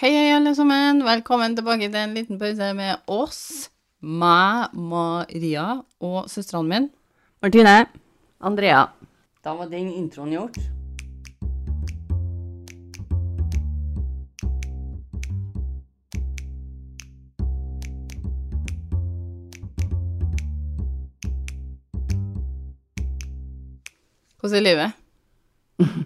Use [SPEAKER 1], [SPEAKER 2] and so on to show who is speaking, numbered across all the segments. [SPEAKER 1] Hei, hei, alle sammen. Velkommen tilbake til en liten pause med oss. Meg, Maria og søstrene min.
[SPEAKER 2] Martine.
[SPEAKER 3] Andrea. Da var den introen gjort.
[SPEAKER 1] Hvordan er livet?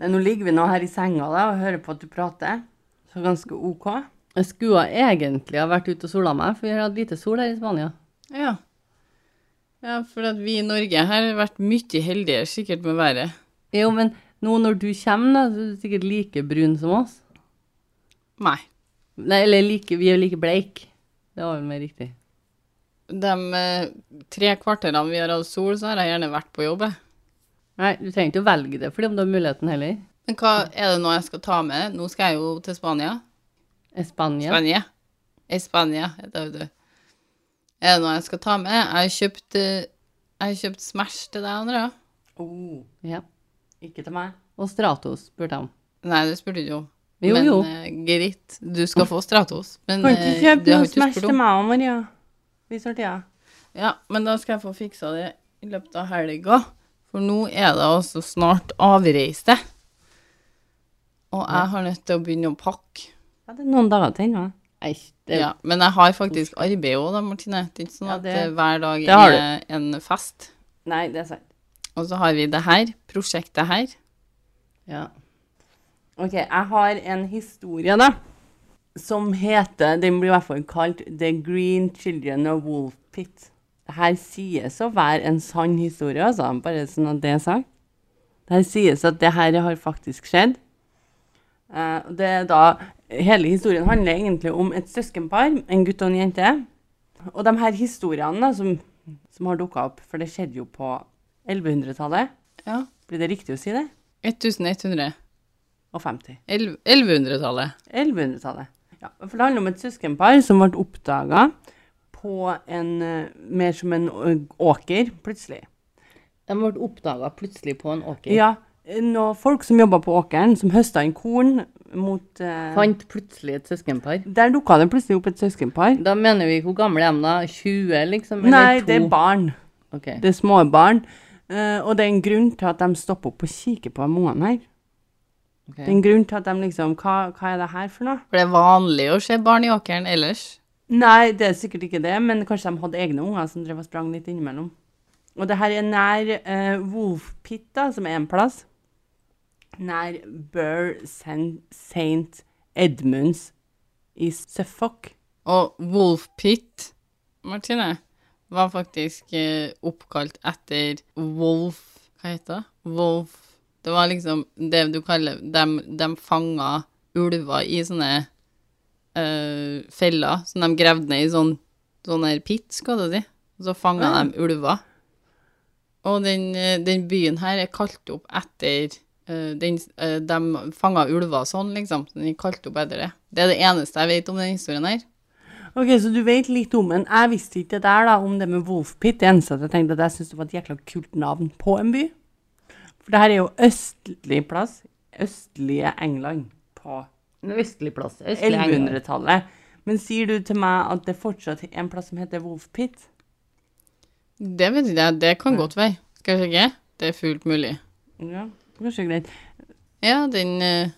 [SPEAKER 3] Nei, nå ligger vi nå her i senga da, og hører på at du prater. Så ganske OK. Jeg skulle egentlig ha vært ute og sola meg, for vi har hatt lite sol her i Spania.
[SPEAKER 1] Ja. Ja, for at vi i Norge her har vært mye heldigere sikkert med været.
[SPEAKER 3] Jo, men nå når du kommer, da, så er du sikkert like brun som oss.
[SPEAKER 1] Nei.
[SPEAKER 3] Nei, eller like, vi er like bleik. Det var vel mer riktig.
[SPEAKER 1] De eh, tre kvarterene vi har hatt sol, så har jeg gjerne vært på jobb. jeg.
[SPEAKER 3] Nei, du trenger ikke å velge det fordi om du har muligheten heller.
[SPEAKER 1] Men hva er det nå jeg skal ta med? Nå skal jeg jo til Spania.
[SPEAKER 3] Spania.
[SPEAKER 1] Spania. I Spania, heter det. Er det noe jeg skal ta med? Jeg har kjøpt, eh, jeg har kjøpt Smash til deg, Andrea.
[SPEAKER 4] Oh,
[SPEAKER 3] Ja.
[SPEAKER 4] ikke til meg.
[SPEAKER 3] Og Stratos, spurte jeg om.
[SPEAKER 1] Nei, det spurte du ikke om.
[SPEAKER 3] Jo,
[SPEAKER 1] men
[SPEAKER 3] jo.
[SPEAKER 1] eh, greit, du skal få Stratos. Men
[SPEAKER 4] Kan ikke
[SPEAKER 1] eh,
[SPEAKER 4] kjøpe
[SPEAKER 1] du har
[SPEAKER 4] noe
[SPEAKER 1] ikke spurt
[SPEAKER 4] Smash til
[SPEAKER 1] om-
[SPEAKER 4] meg og Maria? Hvis har tida.
[SPEAKER 1] Ja, men da skal jeg få fiksa det i løpet av helga. For nå er det altså snart avreise. Og jeg har nødt til å begynne å pakke.
[SPEAKER 4] Ja, det er noen dager til ennå.
[SPEAKER 3] Nei, det,
[SPEAKER 1] Ja, men jeg har faktisk arbeid òg, da, Martine. Det er ikke sånn
[SPEAKER 4] Ja,
[SPEAKER 1] at
[SPEAKER 4] det-
[SPEAKER 1] eh, hver dag
[SPEAKER 3] det har
[SPEAKER 1] er en fest.
[SPEAKER 4] Nei, det er sant.
[SPEAKER 1] Og så har vi det her, prosjektet her.
[SPEAKER 3] ja.
[SPEAKER 4] Ok, jeg har en historie da, som heter, den blir i hvert fall kalt The Green Children of Wolf Pit. Dette sies å være en sann historie, altså, bare sånn at det er sagt. Dette sies at det her har faktisk skjedd. Eh, og det er da, hele historien handler egentlig om et søskenpar, en gutt og en jente. Og de her historiene da, som, som har dukket opp, for det skjedde jo på 1100-tallet,
[SPEAKER 1] Ja.
[SPEAKER 4] blir det riktig å si det?
[SPEAKER 1] 1100.
[SPEAKER 4] Og 50.
[SPEAKER 1] Elv- 1100-tallet.
[SPEAKER 4] 1100-tallet. Ja, for det handler om et søskenpar som ble oppdaga på en eh, mer som en å- åker, plutselig.
[SPEAKER 3] De ble oppdaga plutselig på en åker.
[SPEAKER 4] Ja, noen folk som jobba på åkeren, som høsta inn korn mot eh,
[SPEAKER 3] Fant plutselig et søskenpar.
[SPEAKER 4] Der dukka det plutselig opp et søskenpar.
[SPEAKER 3] Da mener vi hvor gamle er de da? 20, liksom? Eller
[SPEAKER 4] Nei,
[SPEAKER 3] to?
[SPEAKER 4] det er barn.
[SPEAKER 3] Ok.
[SPEAKER 4] Det er småbarn. Eh, og det er en grunn til at de stopper opp og kikker på de ungene her.
[SPEAKER 3] ok.
[SPEAKER 4] Det er en grunn til at de liksom Hva, hva er det her for noe?
[SPEAKER 1] For det er vanlig å se barn i åkeren ellers.
[SPEAKER 4] Nei, det er sikkert ikke det, men kanskje de hadde egne unger som drev og sprang litt innimellom. Og det her er nær eh, Wolf Pit, da, som er en plass. Nær Burr St. Edmunds i Suffolk.
[SPEAKER 1] Og Wolf Pit, Martine, var faktisk eh, oppkalt etter Wolf Hva heter det? Wolf Det var liksom det du kaller De, de fanga ulver i sånne eh, feller som de gravde ned i sånn sånn her pit, skal du si. Og så fanga
[SPEAKER 4] Ah.
[SPEAKER 1] de ulver. Og den, eh, den byen her er kalt opp etter eh, den, eh, De fanga ulver sånn, liksom. Så den er kalt opp etter det. Det er det eneste jeg vet om den historien her.
[SPEAKER 4] Ok, Så du vet litt om den. Jeg visste ikke det der da, om det med Wolf Pit. Det eneste at jeg tenkte at jeg syntes det var et jækla kult navn på en by. For det her er jo østlig plass. Østlige England på
[SPEAKER 3] En østlig plass. Østlig England.
[SPEAKER 4] 1100-tallet. Men sier du til meg at det fortsatt er en plass som heter Wolf Pit?
[SPEAKER 1] Det vet ikke jeg. Det kan godt være. Skal jeg sjekke? Det er fullt mulig.
[SPEAKER 4] Ja, det er kanskje greit.
[SPEAKER 1] Ja, den eh,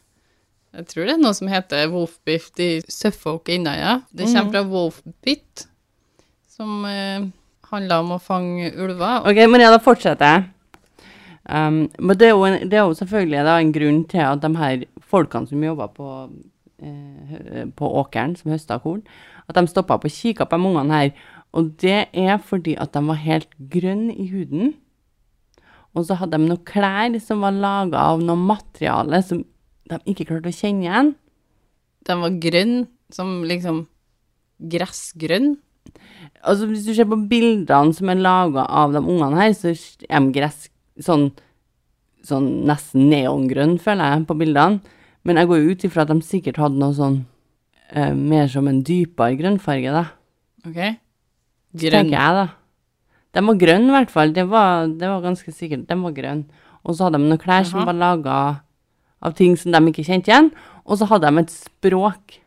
[SPEAKER 1] Jeg tror det er noe som heter Wolfbiff i Suffolk i Innøya. Det
[SPEAKER 4] Mm.
[SPEAKER 1] kommer fra Wolfbit, som eh, handler om å fange ulver.
[SPEAKER 4] Ok, Maria, da fortsetter jeg. Um, men det er, jo en, det er jo selvfølgelig da en grunn til at de her folkene som jobba på, eh, hø- på åkeren, som høsta korn, at de stoppa opp og kikka på de ungene her. Og det er fordi at de var helt grønne i huden. Og så hadde de noen klær som var laga av noe materiale som de ikke klarte å kjenne igjen.
[SPEAKER 1] Den var grønn, som liksom Gressgrønn.
[SPEAKER 4] Altså, hvis du ser på bildene som er laga av de ungene her, så er de gress sånn, sånn nesten neongrønn, føler jeg, på bildene. Men jeg går jo ut ifra at de sikkert hadde noe sånn eh, mer som en dypere grønnfarge, da.
[SPEAKER 1] OK?
[SPEAKER 4] Grønn.
[SPEAKER 1] Grønn.
[SPEAKER 4] Tenker jeg, da. De var grønne, i hvert fall. Det var, det var ganske sikkert. De var grønne. Og så hadde de noen klær som
[SPEAKER 1] Jaha.
[SPEAKER 4] var laga av ting som de ikke kjente igjen. Og så hadde de et språk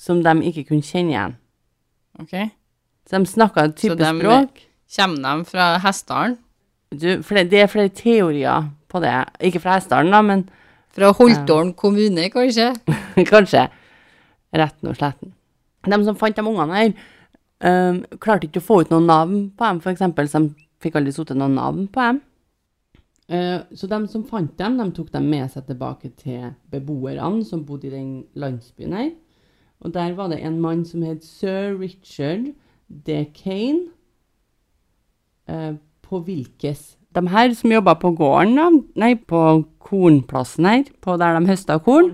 [SPEAKER 4] som de ikke kunne kjenne igjen.
[SPEAKER 1] OK?
[SPEAKER 4] Så de snakka et
[SPEAKER 1] Så
[SPEAKER 4] type
[SPEAKER 1] de-
[SPEAKER 4] språk.
[SPEAKER 1] Kommer de fra Hessdalen?
[SPEAKER 4] Du, fle- det er flere teorier på det. Ikke fra Hessdalen, da, men
[SPEAKER 1] Fra Holtålen kommune, kanskje?
[SPEAKER 4] Kanskje. Retten og sletten. De som fant de ungene her, øhm, klarte ikke å få ut noen navn på dem, for eksempel, så de fikk aldri satt noen navn på dem.
[SPEAKER 3] Eh, Så de som fant dem, de tok dem med seg tilbake til beboerne som bodde i den landsbyen her. Og der var det en mann som het sir Richard D. Kane. Eh, På hvilkes
[SPEAKER 4] De her som jobba på gården, da, nei, på kornplassen her, på der de høsta korn,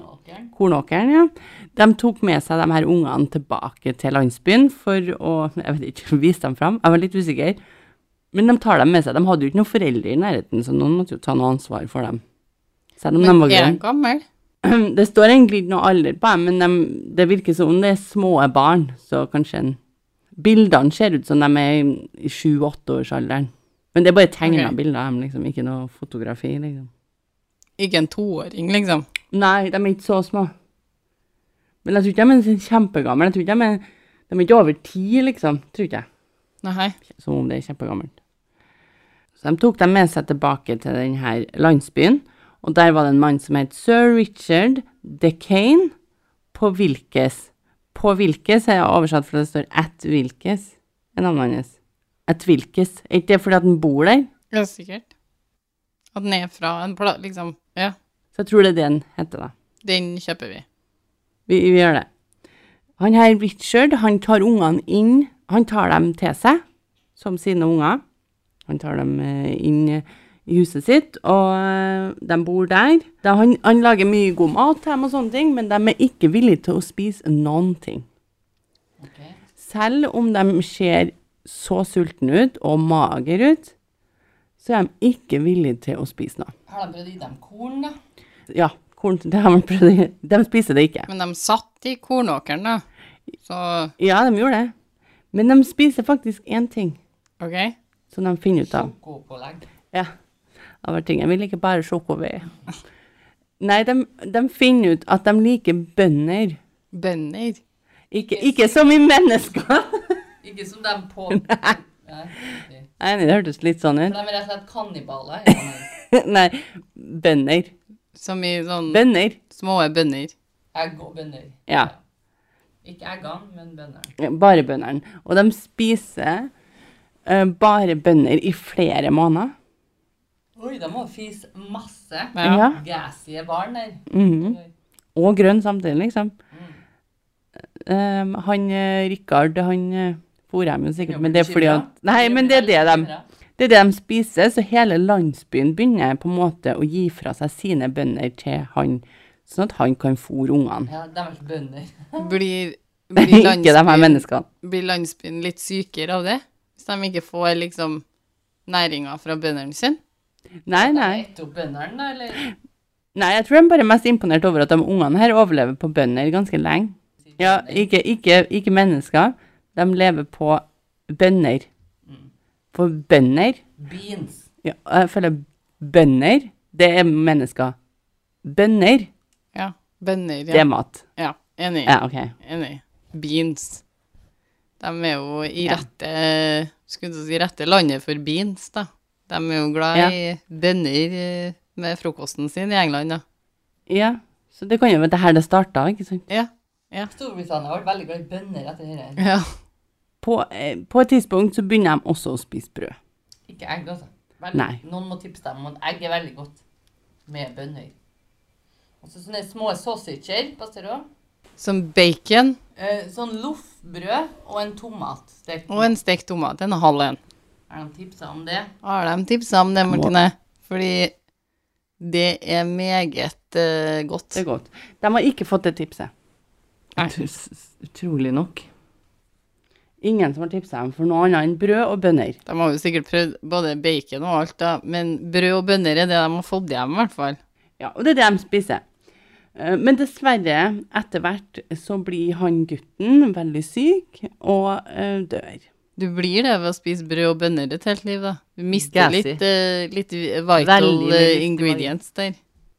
[SPEAKER 4] kornåkeren, ja, de tok med seg de her ungene tilbake til landsbyen for å Jeg vet ikke, vise dem fram. Jeg var litt usikker. Men de tar dem med seg. De hadde jo ikke noen foreldre i nærheten, så noen måtte jo ta noe ansvar for dem. Selv om de
[SPEAKER 1] Men er
[SPEAKER 4] var grønne.
[SPEAKER 1] de gammel?
[SPEAKER 4] Det står egentlig ikke noe alder på dem, men dem- det virker som om det er små barn. Så kanskje en Bildene ser ut som de er i- i sju-åtteårsalderen. Men det er bare tegna
[SPEAKER 1] Ok.
[SPEAKER 4] bilder av dem, liksom. Ikke noe fotografi, liksom.
[SPEAKER 1] Ikke en toåring, liksom?
[SPEAKER 4] Nei, de er ikke så små. Men jeg tror ikke de er sånn kjempegamle. Jeg tror ikke de er, de er ikke over ti, liksom. Tror ikke jeg.
[SPEAKER 1] Nei.
[SPEAKER 4] Som om det er kjempegammelt. Så de tok dem med seg tilbake til denne landsbyen, og der var det en mann som het sir Richard de Kane på Vilkes. På Vilkes er jeg oversatt for det står at Vilkes, er navnet hans. At Vilkes. Er ikke det fordi at han bor der?
[SPEAKER 1] Ja, sikkert. At den er fra en plass, liksom. Ja,
[SPEAKER 4] Så jeg tror det er det han heter, da.
[SPEAKER 1] den kjøper vi.
[SPEAKER 4] Vi, vi gjør det. Han her Richard, han tar ungene inn, han tar dem til seg, som sine unger. Han tar dem eh, inn eh, i huset sitt, og eh, de bor der. Da han, han lager mye god mat til dem og sånne ting, men de er ikke villige til å spise noen ting. Selv om de ser så sultne ut og mager ut, så er de ikke villige til å spise noe.
[SPEAKER 3] Har de prøvd å gi dem korn, da?
[SPEAKER 4] Ja, korn, det har man prøvd. De spiser det ikke.
[SPEAKER 1] Men de satt i kornåkeren, da. Så
[SPEAKER 4] Ja, de gjorde det. Men de spiser faktisk én ting
[SPEAKER 1] OK.
[SPEAKER 4] som de finner ut av.
[SPEAKER 3] Sjokopålegg.
[SPEAKER 4] Ja, av hver ting. Jeg vil ikke bare sjokovei. Nei, de, de finner ut at de liker bønder.
[SPEAKER 1] Bønder.
[SPEAKER 4] Ikke, ikke som i mennesker.
[SPEAKER 3] Ikke som de på... Nei.
[SPEAKER 4] Nei, det hørtes litt sånn
[SPEAKER 3] For
[SPEAKER 4] ut.
[SPEAKER 3] de er rett og slett kannibaler.
[SPEAKER 4] Nei, bønder.
[SPEAKER 1] Som i sånn
[SPEAKER 4] Bønder.
[SPEAKER 1] små bønder.
[SPEAKER 3] Egg og bønder.
[SPEAKER 4] Ja,
[SPEAKER 3] Ikke eggene, men bøndene.
[SPEAKER 4] bare bøndene. Og de spiser eh, bare bønder i flere måneder.
[SPEAKER 3] Oi, de må fise masse
[SPEAKER 1] Ja.
[SPEAKER 4] Ja.
[SPEAKER 3] gassige barn der.
[SPEAKER 4] Mhm. Og grønn samtidig, liksom. Um, han eh, Rikard, han eh, for dem jo sikkert,
[SPEAKER 3] Ja,
[SPEAKER 4] men det er fordi
[SPEAKER 3] bekymra.
[SPEAKER 4] at Nei, men det er det de, det er det de spiser, så hele landsbyen begynner på en måte å gi fra seg sine bønder til han, sånn at han kan fôre ungene.
[SPEAKER 3] Ja, deres bønder.
[SPEAKER 1] Blir, blir,
[SPEAKER 4] Ikke de her
[SPEAKER 1] landsbyen,
[SPEAKER 4] menneskene.
[SPEAKER 1] blir landsbyen litt sykere av det? Hvis de ikke får liksom næringa fra bøndene sine?
[SPEAKER 4] Nei, nei.
[SPEAKER 3] Etter opp bøndene, da, eller?
[SPEAKER 4] Nei, jeg tror de bare er mest imponert over at de ungene her overlever på bønder ganske lenge. Ja, ikke, ikke, ikke mennesker. De lever på bønder. Mm. På bønder.
[SPEAKER 3] Beans.
[SPEAKER 4] Ja, jeg føler bønder, det er mennesker. Bønder,
[SPEAKER 1] Ja. Bønder,
[SPEAKER 4] det er
[SPEAKER 1] ja.
[SPEAKER 4] mat.
[SPEAKER 1] ja. Enig.
[SPEAKER 4] Ja, ok.
[SPEAKER 1] Enig. Beans. De er jo i
[SPEAKER 4] Ja.
[SPEAKER 1] rette Skulle til å si rette landet for beans, da. De er jo glad
[SPEAKER 4] Ja.
[SPEAKER 1] i bønner eh, med frokosten sin i England, da.
[SPEAKER 4] Ja, så det kan jo være det her det startet, ikke sant?
[SPEAKER 1] Ja.
[SPEAKER 3] Storbritannia har vært veldig glad i bønder etter dette.
[SPEAKER 1] ja.
[SPEAKER 4] På, eh, på et tidspunkt så begynner de også å spise brød.
[SPEAKER 3] Ikke egg, altså. Veldig-
[SPEAKER 4] Nei.
[SPEAKER 3] Noen må tipse dem om at egg er veldig godt med bønner. Og så sånne små sausager, passer det også?
[SPEAKER 1] Som bacon
[SPEAKER 3] Eh, sånn loffbrød og en tomat. stekt.
[SPEAKER 1] og en stekt tomat. En halv en.
[SPEAKER 3] Er de tipsa om det?
[SPEAKER 1] Har de tipsa om det, Martine? Fordi det er meget eh, godt.
[SPEAKER 4] Det er godt. De har ikke fått det tipset.
[SPEAKER 1] Nei.
[SPEAKER 4] Ut- s- Utrolig nok. Ingen som har tipset dem for noe annet enn brød og bønner.
[SPEAKER 1] De har jo sikkert prøvd både bacon og alt, da, men brød og bønner er det de har fått hjem, i hvert fall.
[SPEAKER 4] Ja, og det er det de spiser. Eh, Men dessverre, etter hvert så blir han gutten veldig syk og eh, dør.
[SPEAKER 1] Du blir det ved å spise brød og bønner et helt liv, da. Du mister
[SPEAKER 4] Gassy.
[SPEAKER 1] litt, eh, litt vital
[SPEAKER 3] Veldig,
[SPEAKER 1] eh,
[SPEAKER 3] veldig
[SPEAKER 1] ingredients der.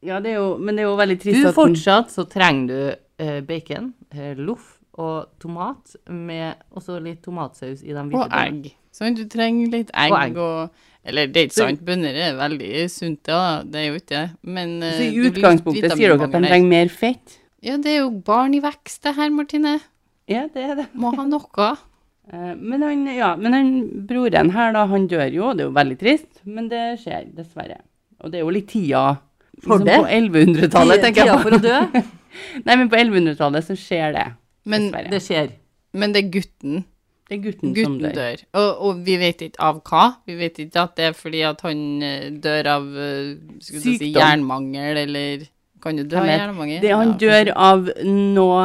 [SPEAKER 4] Ja, det er jo, men det er jo veldig trist
[SPEAKER 3] Du
[SPEAKER 4] at den-
[SPEAKER 3] fortsatt så trenger du eh, bacon, eh, loff
[SPEAKER 2] og tomat, med også litt tomatsaus i de hvite
[SPEAKER 1] Og
[SPEAKER 2] bønnene.
[SPEAKER 1] egg. Sant, du trenger litt egg og,
[SPEAKER 2] Og egg.
[SPEAKER 1] Eller det er ikke sant, bønner er veldig sunt, da. Det er jo ikke det. Men eh,
[SPEAKER 4] Så i utgangspunktet sier dere at de trenger mer fett?
[SPEAKER 1] Ja, det er jo barn i vekst, det her, Martine.
[SPEAKER 4] Ja, det er det.
[SPEAKER 1] Må ha noe.
[SPEAKER 4] Eh, Men han, ja, men han, broren her, da, han dør jo, og det er jo veldig trist, men det skjer, dessverre. Og det er jo litt tida Liksom
[SPEAKER 2] For det?
[SPEAKER 4] På 1100-tallet, tenker
[SPEAKER 2] Tida
[SPEAKER 4] jeg.
[SPEAKER 2] for å dø.
[SPEAKER 4] på. Nei, men på 1100-tallet så skjer det,
[SPEAKER 1] Men,
[SPEAKER 4] dessverre.
[SPEAKER 2] Det skjer.
[SPEAKER 1] men det er gutten.
[SPEAKER 4] Det er gutten, som
[SPEAKER 1] Gutten
[SPEAKER 4] dør.
[SPEAKER 1] dør. Og, og vi vet ikke av hva. Vi vet ikke at det er fordi at han eh, dør av eh, skulle jeg si,
[SPEAKER 4] Sykdom.
[SPEAKER 1] jernmangel, eller Kan jo dø av
[SPEAKER 4] Hvem vet?
[SPEAKER 1] jernmangel.
[SPEAKER 4] Det, han
[SPEAKER 1] Ja.
[SPEAKER 4] dør av noe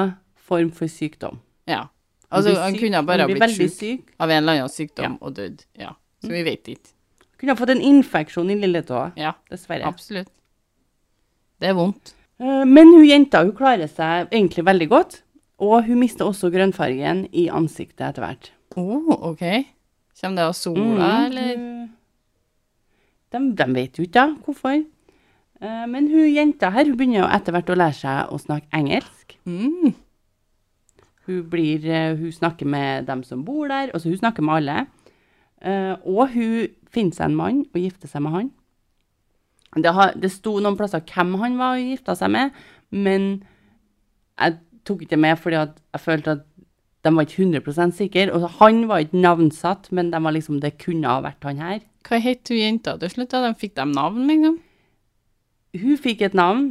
[SPEAKER 4] form for sykdom.
[SPEAKER 1] Ja. Altså,
[SPEAKER 4] blir
[SPEAKER 1] han
[SPEAKER 4] syk,
[SPEAKER 1] kunne ha bare ha
[SPEAKER 4] han blir
[SPEAKER 1] blitt
[SPEAKER 4] veldig
[SPEAKER 1] sjuk
[SPEAKER 4] syk.
[SPEAKER 1] av en eller annen sykdom og dødd. Ja. Mm. Så vi vet ikke.
[SPEAKER 4] Kunne ha fått en infeksjon i lilletåa,
[SPEAKER 1] Ja,
[SPEAKER 4] dessverre.
[SPEAKER 1] absolutt. Det er vondt.
[SPEAKER 4] Eh, Men hun jenta hun klarer seg egentlig veldig godt, og hun mister også grønnfargen i ansiktet etter hvert.
[SPEAKER 1] Å, Oh, OK. Mm. Kommer det av sola, eller?
[SPEAKER 4] De, de vet jo ikke da, hvorfor. Eh, Men hun jenta her hun begynner jo etter hvert å lære seg å snakke engelsk.
[SPEAKER 1] Mm.
[SPEAKER 4] Hun, blir, eh, hun snakker med dem som bor der, altså hun snakker med alle. Eh, Og hun finner seg en mann og gifter seg med han. Det, har, det sto noen plasser hvem han var og gifta seg med, men jeg tok ikke med fordi at jeg følte at de var ikke 100 sikre. Og han var ikke navnsatt, men de var liksom, det kunne ha vært han her.
[SPEAKER 1] Hva het hun jenta til slutt? da? De fikk de navn, liksom?
[SPEAKER 4] Hun fikk et navn,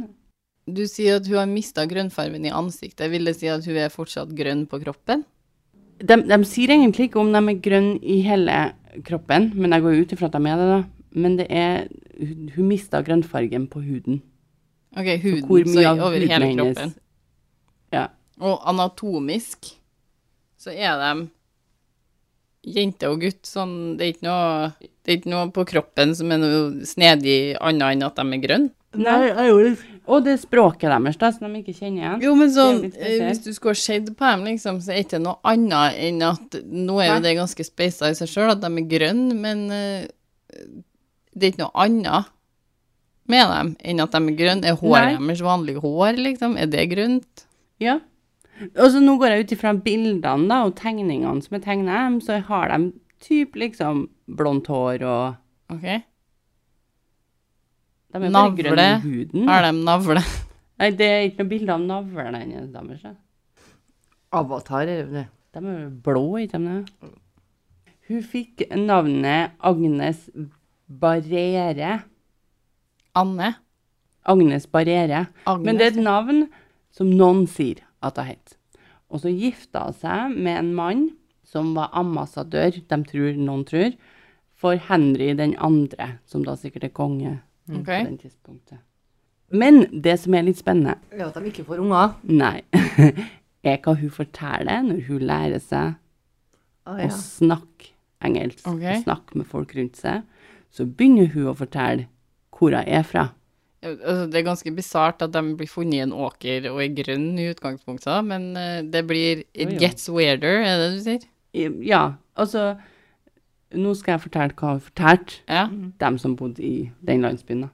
[SPEAKER 1] Du sier at hun har mista grønnfargen i ansiktet. Vil det si at hun er fortsatt grønn på kroppen?
[SPEAKER 4] De, de sier egentlig ikke om de er grønne i hele kroppen, men jeg går jo ut ifra at de er det, da. Men det er Hun, hun mista grønnfargen på huden.
[SPEAKER 1] OK, huden
[SPEAKER 4] Hvor mye
[SPEAKER 1] så
[SPEAKER 4] av
[SPEAKER 1] over
[SPEAKER 4] huden
[SPEAKER 1] hele
[SPEAKER 4] hennes
[SPEAKER 1] kroppen.
[SPEAKER 4] Ja.
[SPEAKER 1] Og anatomisk så er de jente og gutt sånn Det er ikke noe, det er ikke noe på kroppen som er noe snedig annet enn at de er grønne.
[SPEAKER 4] Og det språket deres, da, som de ikke kjenner igjen.
[SPEAKER 1] Jo, men sånn,
[SPEAKER 4] Det er jo litt
[SPEAKER 1] eh, hvis
[SPEAKER 4] spesielt.
[SPEAKER 1] du skulle ha sett på dem, liksom, så er det ikke noe annet enn at Nå er jo
[SPEAKER 4] Nei.
[SPEAKER 1] det ganske speisa i seg sjøl at de er grønne, men eh, det er ikke noe annet med dem enn at de er grønne. Er
[SPEAKER 4] Nei.
[SPEAKER 1] håret deres vanlig hår, liksom? Er det grønt?
[SPEAKER 4] Ja. Og så nå går jeg ut ifra bildene da, og tegningene som er tegna, så har de typ liksom blondt hår og
[SPEAKER 1] OK.
[SPEAKER 4] De er bare
[SPEAKER 1] Navle.
[SPEAKER 4] grønne i huden.
[SPEAKER 1] Har de navle?
[SPEAKER 4] Nei, det er ikke noe bilde av navlen hennes deres. da.
[SPEAKER 2] Avatar er jo det.
[SPEAKER 4] De er jo blå, ikke de det? Hun fikk navnet Agnes Barrere.
[SPEAKER 1] Anne?
[SPEAKER 4] Agnes Barrere.
[SPEAKER 1] Agnes?
[SPEAKER 4] Men det er et navn som noen sier at hun het. Og så gifta hun seg med en mann som var ambassadør, de tror, noen tror, for Henry den andre, som da sikkert er konge
[SPEAKER 1] OK.
[SPEAKER 4] på den tidspunktet. Men det som er litt spennende,
[SPEAKER 2] Ja, at de ikke får unger.
[SPEAKER 4] nei, er hva hun forteller når hun lærer seg
[SPEAKER 2] Ah,
[SPEAKER 4] og snakke engelsk,
[SPEAKER 1] Ok.
[SPEAKER 4] og snakke med folk rundt seg, så begynner hun å fortelle hvor hun er fra.
[SPEAKER 1] Altså, det er ganske bisart at de blir funnet i en åker og er grønne i utgangspunktet, men eh, det blir It
[SPEAKER 4] Jo, jo.
[SPEAKER 1] gets weirder, er det du sier?
[SPEAKER 4] I- Ja, altså, nå skal jeg fortelle hva hun fortalte
[SPEAKER 1] Ja.
[SPEAKER 4] dem som bodde i den landsbyen. da.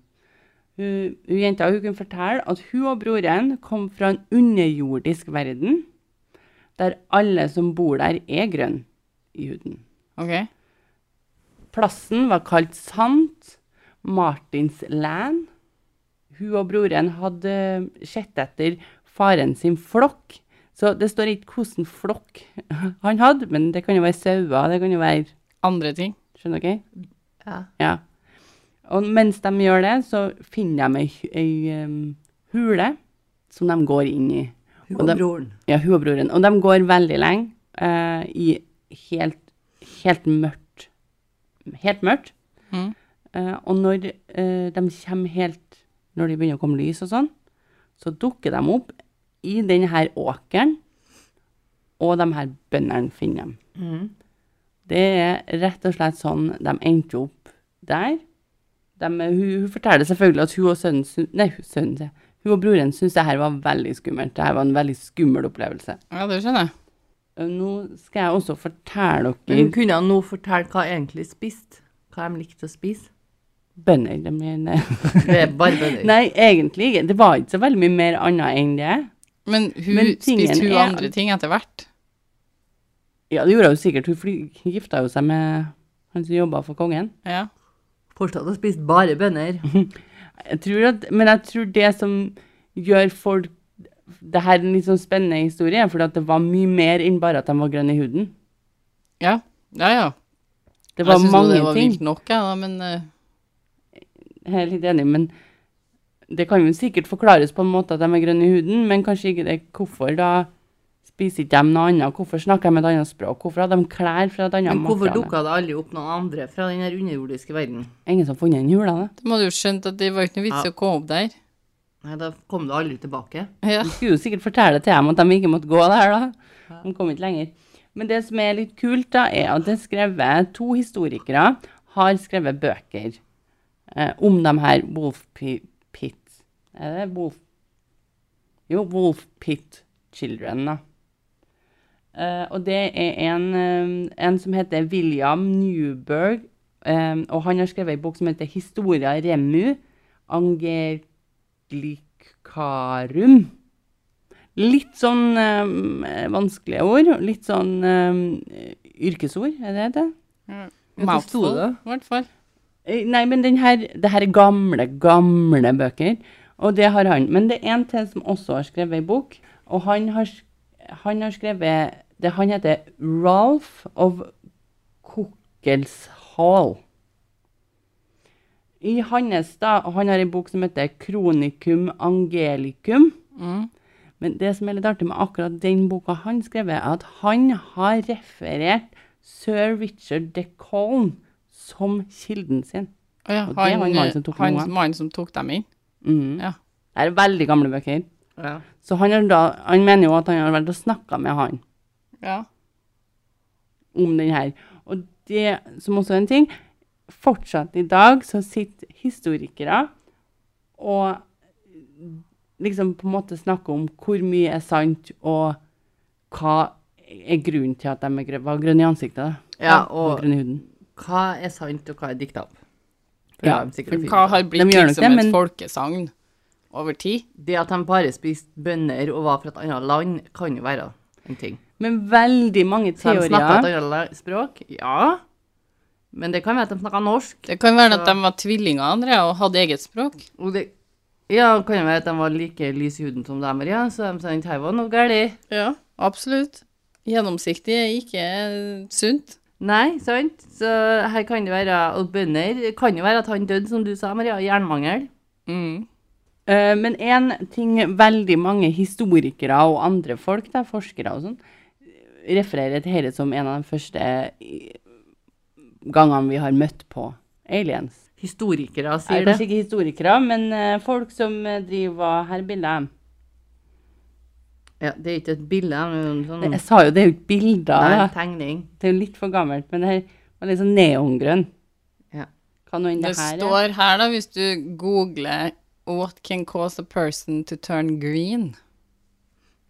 [SPEAKER 4] Hun, hun jenta hun kunne fortelle at hun og broren kom fra en underjordisk verden, der alle som bor der er grønne i huden.
[SPEAKER 1] OK.
[SPEAKER 4] Plassen var kalt Sant, Martins Land. Hun og broren hadde eh, sett etter faren sin flokk. Så det står ikke hvilken flokk han hadde, men det kan jo være sauer, det kan jo være
[SPEAKER 1] Andre ting.
[SPEAKER 4] Skjønner dere?
[SPEAKER 2] Ja.
[SPEAKER 4] Ja. Og mens de gjør det, så finner de ei, hu- ei em, hule som de går inn i.
[SPEAKER 2] Hun
[SPEAKER 4] Og
[SPEAKER 2] og
[SPEAKER 4] de-
[SPEAKER 2] broren.
[SPEAKER 4] Ja, hun og broren. Og de går veldig lenge eh, i helt, helt mørkt. Helt mørkt.
[SPEAKER 1] Mhm.
[SPEAKER 4] Eh, og når eh, de kommer helt Når det begynner å komme lys og sånn, så dukker de opp i denne her åkeren, og de her bøndene finner dem. Det er rett og slett sånn de endte opp der. De, hun, hun forteller selvfølgelig at hun og sønnen syn- Nei, hun- sønnen sier. Hun og broren syntes det her var veldig skummelt. Det her var en veldig skummel opplevelse.
[SPEAKER 1] Ja, det skjønner jeg.
[SPEAKER 4] Eh, Nå skal jeg også fortelle
[SPEAKER 2] Men hun
[SPEAKER 4] dere
[SPEAKER 2] kunne nå fortelle hva egentlig spiste. Hva de likte å spise.
[SPEAKER 4] bønder. de mener-
[SPEAKER 2] Det er bare bønner.
[SPEAKER 4] Nei, egentlig ikke. Det var ikke så veldig mye mer annet enn det.
[SPEAKER 1] Men hun
[SPEAKER 4] Men tingen
[SPEAKER 1] spiste hun
[SPEAKER 4] er-
[SPEAKER 1] andre ting etter hvert.
[SPEAKER 4] Ja, det gjorde hun sikkert. Hun fly- gifta jo seg med han som jobba for kongen.
[SPEAKER 1] Ja.
[SPEAKER 2] Fortsatt har spist bare bønner.
[SPEAKER 4] Jeg tror at, men jeg tror det som gjør folk det her er en litt sånn spennende historie, er fordi at det var mye mer enn bare at de var grønne i huden.
[SPEAKER 1] Ja, ja. ja.
[SPEAKER 4] Det var
[SPEAKER 1] jeg synes jo
[SPEAKER 4] mange
[SPEAKER 1] det var
[SPEAKER 4] ting.
[SPEAKER 1] vilt nok, jeg, da, men eh,
[SPEAKER 4] Jeg er litt enig, men det kan jo sikkert forklares på en måte at de er grønne i huden, men kanskje ikke det. Hvorfor da spiser ikke de noe annet? Hvorfor snakker de et annet språk? Hvorfor har de klær fra et annet
[SPEAKER 2] Men hvorfor
[SPEAKER 4] materiale?
[SPEAKER 2] dukka det aldri opp noen andre fra den her underjordiske verden?
[SPEAKER 4] Ingen som har funnet en hule av det?
[SPEAKER 1] da må du jo skjønt at det var ikke noe vits i å komme opp der.
[SPEAKER 2] Nei, da kom det aldri tilbake.
[SPEAKER 1] Ja.
[SPEAKER 4] De skulle jo sikkert fortelle til dem at de ikke måtte gå der, da. De kom ikke lenger. Men det som er litt kult, da, er at det er skrevet To historikere har skrevet bøker eh, om de her Wolf Pi- Pit Er det Wolf Jo, Wolf Pit Children, da. Eh, og det er en, eh, en som heter William Newberg, eh, og han har skrevet en bok som heter Historia Remu Angelicarum. Litt sånn eh, vanskelige ord, og litt sånn eh, yrkesord, er det det?
[SPEAKER 2] Hva sto
[SPEAKER 1] Mouthful,
[SPEAKER 2] det?
[SPEAKER 1] i hvert fall.
[SPEAKER 4] Eh, Nei, men den her, det her er gamle, gamle bøker, og det har han. Men det er en til som også har skrevet ei bok, og han har, sk- han har skrevet det Han heter Ralph of Kokkelshall. I hans, da, og han har ei bok som heter Kronicum Angelicum. Men det som er litt artig med akkurat den boka han skrev, er at han har referert sir Richard de Colne som kilden sin.
[SPEAKER 1] Å ja,
[SPEAKER 4] Og det var
[SPEAKER 1] han,
[SPEAKER 4] en mann som
[SPEAKER 1] eh,
[SPEAKER 4] tok
[SPEAKER 1] han
[SPEAKER 4] noe.
[SPEAKER 1] mannen som tok dem inn.
[SPEAKER 4] Mhm.
[SPEAKER 1] Ja.
[SPEAKER 4] Det er veldig gamle bøker.
[SPEAKER 2] Ja.
[SPEAKER 4] Så han, har da, han mener jo at han har vært og snakka med han
[SPEAKER 1] Ja.
[SPEAKER 4] om den her. Og det som også er en ting Fortsatt i dag så sitter historikere og liksom på en måte snakker om hvor mye er sant, og hva er grunnen til at de er grø- var grønne i ansiktet. da.
[SPEAKER 2] ja,
[SPEAKER 4] og
[SPEAKER 2] og
[SPEAKER 4] grønn i huden.
[SPEAKER 2] hva er sant, og hva er dikta opp? For
[SPEAKER 4] Ja,
[SPEAKER 2] det er sikkert fint.
[SPEAKER 1] Hva har blitt
[SPEAKER 4] De gjør nok
[SPEAKER 1] liksom
[SPEAKER 4] det,
[SPEAKER 1] et
[SPEAKER 4] men-
[SPEAKER 1] folkesagn over tid?
[SPEAKER 2] Det at de bare spiste bønner og var fra et annet land, kan jo være en ting.
[SPEAKER 4] Men veldig mange
[SPEAKER 2] Så de snakka et
[SPEAKER 4] teorier
[SPEAKER 2] annet la- språk? Ja. Men det kan være at de snakka norsk.
[SPEAKER 1] Det kan være at de var tvillinger andre og hadde eget språk.
[SPEAKER 2] Og det ja, det kan jo være at de var like lys i huden som dem, ja, så de sa at her var noe galt.
[SPEAKER 1] Ja, absolutt. Gjennomsiktig er ikke sunt.
[SPEAKER 2] Nei, sant? Så her kan det være Og bønder Det kan jo være at han døde, som du sa, Maria. av Jernmangel.
[SPEAKER 1] Mm.
[SPEAKER 4] Eh, Men én ting veldig mange historikere og andre folk, da, forskere og sånn, refererer til dette som en av de første i- gangene vi har møtt på aliens.
[SPEAKER 2] Historikere
[SPEAKER 4] Nei,
[SPEAKER 2] sier
[SPEAKER 4] kanskje
[SPEAKER 2] det.
[SPEAKER 4] ikke historikere, men eh, folk som eh, driver Her er bildet.
[SPEAKER 2] Ja, det er ikke et bilde, men
[SPEAKER 4] Det-
[SPEAKER 2] sånn
[SPEAKER 4] Jeg sa jo det er jo ikke bilder.
[SPEAKER 2] Nei,
[SPEAKER 4] da.
[SPEAKER 2] en tegning.
[SPEAKER 4] Det er jo litt for gammelt, men det her var litt sånn neongrønn.
[SPEAKER 2] Ja.
[SPEAKER 4] Hva nå enn
[SPEAKER 1] Det
[SPEAKER 4] det her er.
[SPEAKER 1] står her, da, hvis du googler 'What can cause a person to turn green',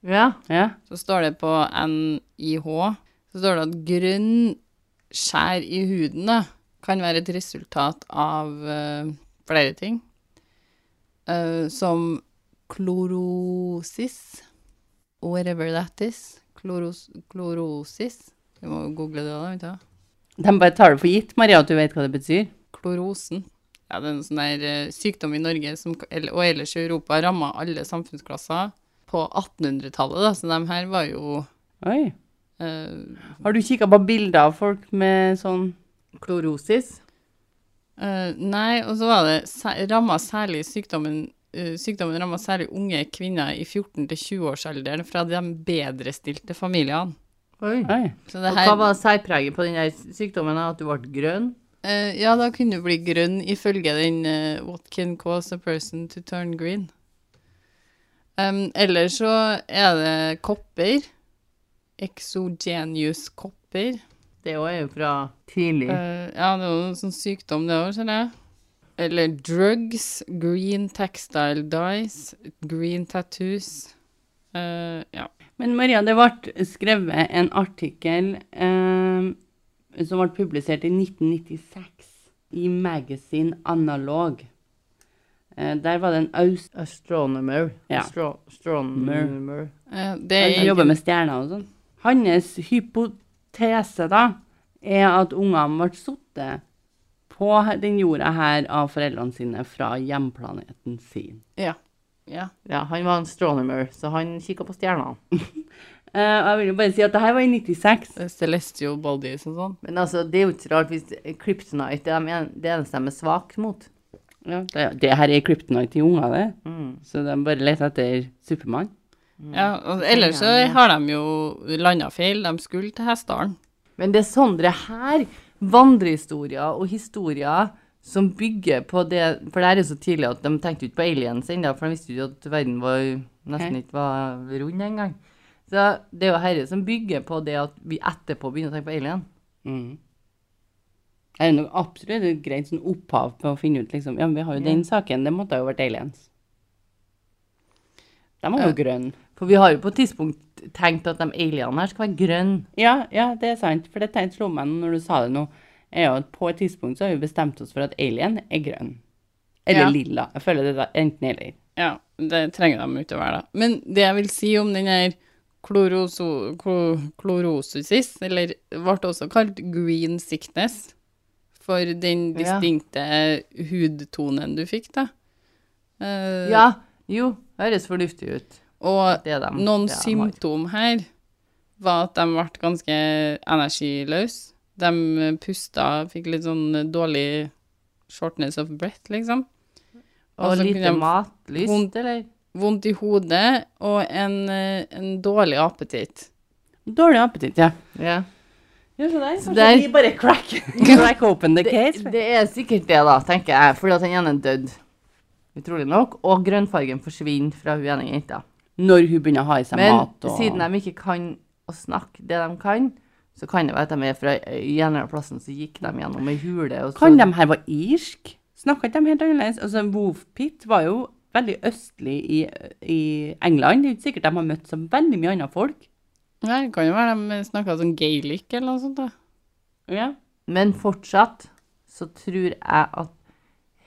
[SPEAKER 2] Ja.
[SPEAKER 4] Ja.
[SPEAKER 1] så står det på NIH så står det at grønn skjær i huden da, kan være et resultat av eh, flere ting, Eh, som klorosis, whatever that is, Kloros, klorosis, du må jo google det da, vet du hva?
[SPEAKER 4] De bare tar det for gitt, Maria, at du vet hva det betyr.
[SPEAKER 1] klorosen. Ja, det er en sånn der eh, sykdom i Norge som, eller- og ellers i Europa ramma alle samfunnsklasser på 1800-tallet, da, så de her var jo
[SPEAKER 4] Oi.
[SPEAKER 1] eh,
[SPEAKER 4] Har du kikka på bilder av folk med sånn
[SPEAKER 2] Klorosis.
[SPEAKER 1] eh, Nei, og så var det sæ- ramma særlig sykdommen eh, Sykdommen ramma særlig unge kvinner i 14-20-årsalderen fra de bedrestilte familiene.
[SPEAKER 2] Oi.
[SPEAKER 4] Oi.
[SPEAKER 1] Så det
[SPEAKER 2] Og
[SPEAKER 1] her
[SPEAKER 2] hva var særpreget på den her sykdommen? da? At du ble grønn?
[SPEAKER 1] eh, Ja, da kunne du bli grønn ifølge den eh, What can cause a person to turn green? Um, ellers så er det kopper. Exogenius kopper.
[SPEAKER 2] Det òg er jo fra tidlig
[SPEAKER 1] Eh, ja, det er jo en sånn sykdom det òg, ser jeg. Eller drugs, green textile dyes, green tattoos. Eh, ja.
[SPEAKER 4] Men Maria, det ble skrevet en artikkel eh, som ble publisert i 1996 i Magazine Analog. Eh, der var det en aus...
[SPEAKER 2] Astronomer.
[SPEAKER 4] Ja.
[SPEAKER 2] Astro astronomer.
[SPEAKER 1] Eh, Det
[SPEAKER 4] Han
[SPEAKER 1] er
[SPEAKER 4] som jobber med stjerner og sånn. Hans hypotese, da, er at ungene ble sittet på den jorda her av foreldrene sine fra hjemplaneten sin.
[SPEAKER 1] Ja. ja.
[SPEAKER 2] Ja, han var en astronomer, så han kikka på stjernene.
[SPEAKER 4] Eh, og jeg vil jo bare si at det her var i 96.
[SPEAKER 1] Det er Celestial bodies og sånn.
[SPEAKER 2] Men altså, det er jo ikke så rart hvis Kryptonite er de en- det eneste de er svake mot.
[SPEAKER 4] Ja, det, det her er kryptonite til unger, det.
[SPEAKER 2] Mm.
[SPEAKER 4] Så de bare leter etter Supermann.
[SPEAKER 1] Ja, og ellers så har de jo landa feil. De skulle til Hessdalen.
[SPEAKER 2] Men det er sånne her vandrehistorier og historier som bygger på det For det her er så tidlig at de tenkte jo ikke på aliens ennå, for de visste jo ikke at verden var, nesten ikke var rund engang. Så det er jo herre som bygger på det at vi etterpå begynner å tenke på alien.
[SPEAKER 4] Mm. Det er nok absolutt et greit sånn opphav på å finne ut liksom, ja, men vi har jo den saken, det måtte ha jo vært aliens. De var jo grønne.
[SPEAKER 2] For vi har jo på et tidspunkt tenkt at de alienene her skal være grønne.
[SPEAKER 4] Ja, ja, det er sant, for det tegnet slo meg nå når du sa det nå, er jo at på et tidspunkt så har vi bestemt oss for at alien er grønn. Eller
[SPEAKER 1] Ja.
[SPEAKER 4] lilla. Jeg føler det da, enten eller.
[SPEAKER 1] Ja, det trenger de jo ikke å være, da. Men det jeg vil si om den her kloroso, klo, klorosusis, eller ble også kalt green sickness, for den
[SPEAKER 2] Ja.
[SPEAKER 1] distinkte hudtonen du fikk, da. Eh,
[SPEAKER 2] Ja, jo, høres fornuftig ut.
[SPEAKER 1] Og
[SPEAKER 2] Det er dem.
[SPEAKER 1] noen
[SPEAKER 2] det er dem har.
[SPEAKER 1] symptom her var at de ble ganske energiløse. De eh, pusta, fikk litt sånn dårlig shortness of breath, liksom. så
[SPEAKER 2] Og
[SPEAKER 1] altså, kunne
[SPEAKER 2] lite
[SPEAKER 1] de-
[SPEAKER 2] matlyst,
[SPEAKER 1] vondt-
[SPEAKER 2] eller?
[SPEAKER 1] Vondt i hodet og en, eh, en dårlig appetitt.
[SPEAKER 4] Dårlig appetitt, ja.
[SPEAKER 2] Ja.
[SPEAKER 4] Ja, så der.
[SPEAKER 2] Så der-
[SPEAKER 4] vi bare crack, crack open the case.
[SPEAKER 2] Det er sikkert det, da, tenker jeg, fordi at den ene er dødd. Utrolig nok. Og grønnfargen forsvinner fra hun ene jenta.
[SPEAKER 4] Når hun begynner å ha i seg
[SPEAKER 2] Men
[SPEAKER 4] mat og...
[SPEAKER 2] siden de ikke kan å snakke det de kan, så kan det være at de er fra gjennomplassen, så gikk de gjennom ei hule og så
[SPEAKER 4] Kan de her være irsk? Snakka ikke de helt annerledes? Altså, Wolfpit var jo veldig østlig i, i England. Det er jo ikke sikkert de har møtt så veldig mye andre folk.
[SPEAKER 1] Nei, det kan jo være de snakka sånn gaelic eller noe sånt. da.
[SPEAKER 4] Ja.
[SPEAKER 2] Men fortsatt så tror jeg at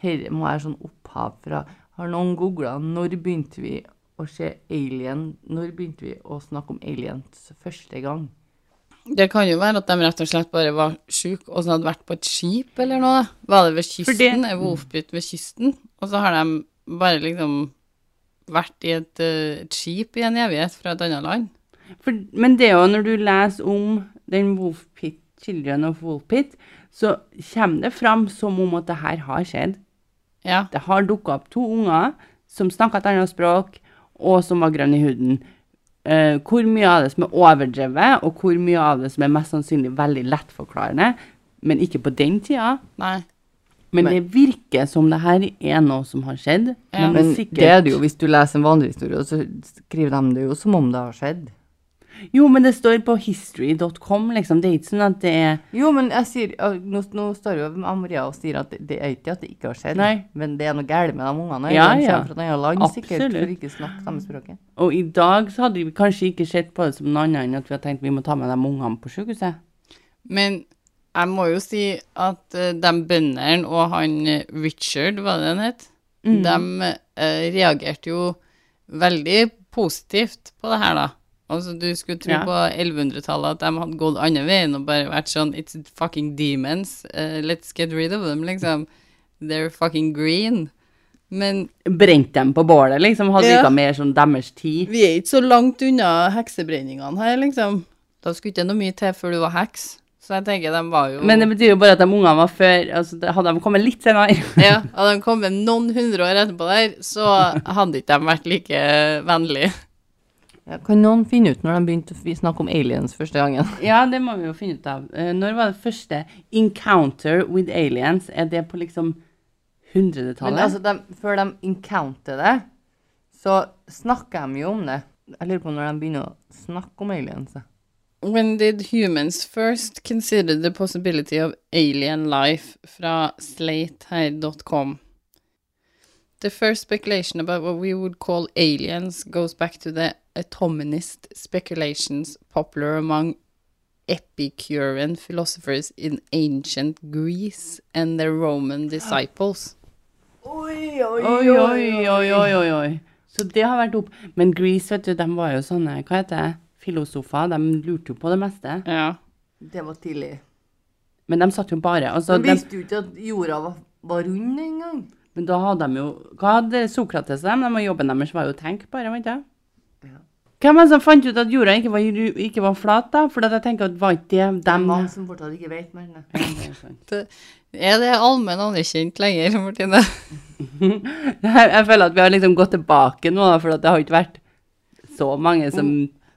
[SPEAKER 2] her må være sånn opphav fra Har noen googla når begynte vi å se alien Når begynte vi å snakke om aliens første gang?
[SPEAKER 1] Det kan jo være at de rett og slett bare var sjuke og så hadde vært på et skip eller noe. da. Var det ved
[SPEAKER 4] For det-
[SPEAKER 1] kysten? Er Wolfbit ved kysten? Og så har de bare liksom vært i et, eh, et skip i en evighet fra et annet land.
[SPEAKER 4] For, men det er jo når du leser om den Wolfpit, Children of Wolfpit, så kommer det fram som om at det her har skjedd.
[SPEAKER 1] Ja.
[SPEAKER 4] Det har dukka opp to unger som snakka et annet språk, og som var grønne i huden. Eh, hvor mye av det som er overdrevet, og hvor mye av det som er mest sannsynlig veldig lettforklarende, men ikke på den tida.
[SPEAKER 1] Nei.
[SPEAKER 4] Men,
[SPEAKER 2] Men-
[SPEAKER 4] det virker som det her er noe som har skjedd.
[SPEAKER 1] Ja.
[SPEAKER 4] men
[SPEAKER 2] Men
[SPEAKER 4] sikkert-
[SPEAKER 2] det er det jo hvis du leser en vandrehistorie, og så skriver de det jo som om det har skjedd.
[SPEAKER 4] Jo, men det står på history.com, liksom. Det er ikke sånn at det er
[SPEAKER 2] Jo, men jeg sier, ja, nå, nå står jo Maria og sier at det, det er ikke at det ikke har skjedd,
[SPEAKER 4] Nei.
[SPEAKER 2] men det er noe galt med de ungene.
[SPEAKER 4] Ja,
[SPEAKER 2] de
[SPEAKER 4] ja.
[SPEAKER 2] kommer fra et annet land sikkert,
[SPEAKER 4] Absolutt.
[SPEAKER 2] for ikke snakker samme språket.
[SPEAKER 4] Og i dag så hadde vi kanskje ikke sett på det som noe annet enn at vi har tenkt vi må ta med de ungene på sykehuset.
[SPEAKER 1] Men jeg må jo si at eh, de bøndene og han eh, Richard, var det han het,
[SPEAKER 4] Mm.
[SPEAKER 1] de eh, reagerte jo veldig positivt på det her, da. Altså, du skulle tro
[SPEAKER 4] Ja.
[SPEAKER 1] på 1100-tallet at de hadde gått andre veien og bare vært sånn It's fucking demons. eh, let's get rid of them, liksom. They're fucking green. Men
[SPEAKER 4] Brent dem på bålet, liksom. Hadde
[SPEAKER 1] Ja.
[SPEAKER 4] ikke mer sånn deres tid.
[SPEAKER 1] vi er ikke så langt unna heksebrenningene her, liksom. Da skulle ikke noe mye til før du var heks. Så jeg tenker de var jo
[SPEAKER 4] Men det betyr jo bare at de ungene var før altså, det- Hadde de kommet litt senere
[SPEAKER 1] Ja, hadde de kommet noen hundre år etterpå der, så hadde ikke de vært like vennlige.
[SPEAKER 2] Ja, kan noen finne ut når de begynte å f- snakke om aliens første gangen?
[SPEAKER 4] Ja, det må vi jo finne ut av. Eh, Når var det første encounter with aliens? Er det på liksom
[SPEAKER 2] Men
[SPEAKER 4] hundretallet?
[SPEAKER 2] altså, de, før de encounter det, så snakker de jo om det. Jeg lurer på når de begynner å snakke om aliens. da.
[SPEAKER 1] When did humans first consider the possibility of alien life fra slatehair.com? The first speculation about what we would call aliens goes back to the atominist speculations popular among Epicurean philosophers in ancient Greece and their Roman disciples.
[SPEAKER 2] Oi,
[SPEAKER 4] oi, oi, oi, oi, oi, oi, oi. Så det har vært opp. Men Grease, vet du, de var jo sånne, hva heter det, filosofer, de lurte jo på det meste.
[SPEAKER 1] Ja.
[SPEAKER 2] Det var tidlig.
[SPEAKER 4] Men de satt jo bare, altså,
[SPEAKER 2] De
[SPEAKER 4] de,
[SPEAKER 2] visste jo ikke at jorda var, var rund engang.
[SPEAKER 4] men da hadde de jo, hva hadde Sokrates og dem, de var jobben deres, var jo å tenke bare, vet du. Hvem er det som fant ut at jorda ikke var, ru- ikke var flat da? For at jeg tenker at var ikke det dem...
[SPEAKER 2] Mange som fortsatt ikke vet mer. enn det.
[SPEAKER 1] Det, eh, er det allmenn anerkjent lenger, Martine?
[SPEAKER 4] Jeg, jeg føler at vi har liksom gått tilbake nå, da, for at det har ikke vært så mange som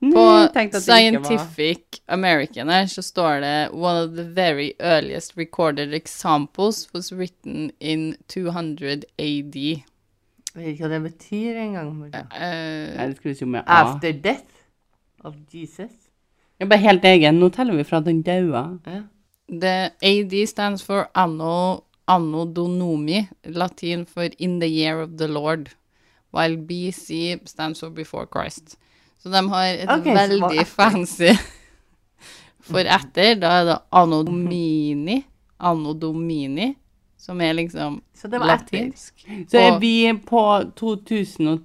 [SPEAKER 1] På
[SPEAKER 4] mm, tenkte at det ikke var-
[SPEAKER 1] Scientific American her så står det One of the very earliest recorded examples was written in 200 AD.
[SPEAKER 2] Jeg vet ikke hva det betyr engang. Maria.
[SPEAKER 1] Eh,
[SPEAKER 4] Nei, det skrives jo med A.
[SPEAKER 2] After death of Jesus.
[SPEAKER 4] Jeg er bare helt egen. Nå teller vi fra den daua.
[SPEAKER 1] the AD stands for anno, anno Donomi, Latin for in the year of the Lord, while BC stands for before Christ. Så de har et
[SPEAKER 2] Ok, så det var
[SPEAKER 1] veldig
[SPEAKER 2] etter.
[SPEAKER 1] fancy For etter, da er det anno domini, anno domini, som er liksom
[SPEAKER 2] Så det var etter.
[SPEAKER 1] latinsk.
[SPEAKER 4] Så er
[SPEAKER 1] Og-
[SPEAKER 4] vi på 2000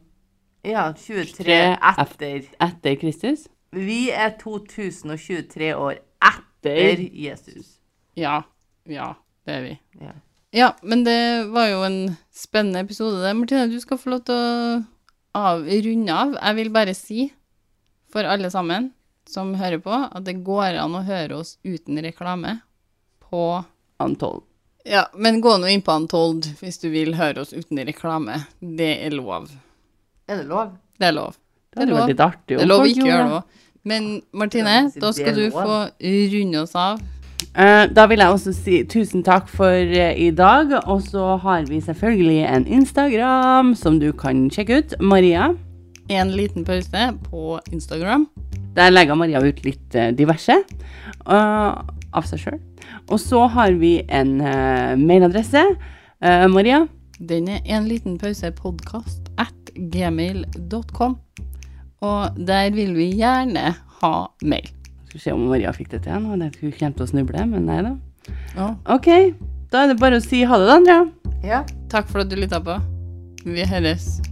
[SPEAKER 2] Ja, 23
[SPEAKER 4] Tre
[SPEAKER 2] etter.
[SPEAKER 4] etter Kristus.
[SPEAKER 2] Vi er 2023 år etter Jesus.
[SPEAKER 1] Ja. Ja, det er vi.
[SPEAKER 2] Ja.
[SPEAKER 1] Ja, men det var jo en spennende episode det. Martine, du skal få lov til å av, runde av. Jeg vil bare si for alle sammen som hører på, at det går an å høre oss uten reklame på
[SPEAKER 4] Antall.
[SPEAKER 1] Ja, men gå nå inn på Antold hvis du vil høre oss uten reklame. Det er lov.
[SPEAKER 2] Er det lov?
[SPEAKER 1] Det er lov.
[SPEAKER 4] Det hadde
[SPEAKER 1] lov.
[SPEAKER 4] vært litt artig.
[SPEAKER 1] Det
[SPEAKER 4] om
[SPEAKER 1] er lov å
[SPEAKER 4] folk
[SPEAKER 1] ikke gjøre
[SPEAKER 4] gjorde det.
[SPEAKER 1] det òg. Men Martine,
[SPEAKER 2] Det er
[SPEAKER 1] da skal du
[SPEAKER 2] lov.
[SPEAKER 1] få runde oss av.
[SPEAKER 4] Eh, Da vil jeg også si tusen takk for eh, i dag. Og så har vi selvfølgelig en Instagram som du kan sjekke ut. Maria.
[SPEAKER 1] En liten pause på Instagram.
[SPEAKER 4] Der legger Maria ut litt eh, diverse eh, av seg sjøl. Og så har vi en eh, mailadresse. Eh, Maria.
[SPEAKER 1] Den er en liten pause podcast at gmail.com. Og der vil vi gjerne ha mail.
[SPEAKER 4] Skal vi se om Maria fikk det til. Nå. Jeg tenkte Hun kommer til å snuble, men nei da.
[SPEAKER 1] Ja.
[SPEAKER 4] OK. Da er det bare å si ha det, da, Andrea.
[SPEAKER 2] Ja.
[SPEAKER 1] Takk for at du lytta på. Vi høres.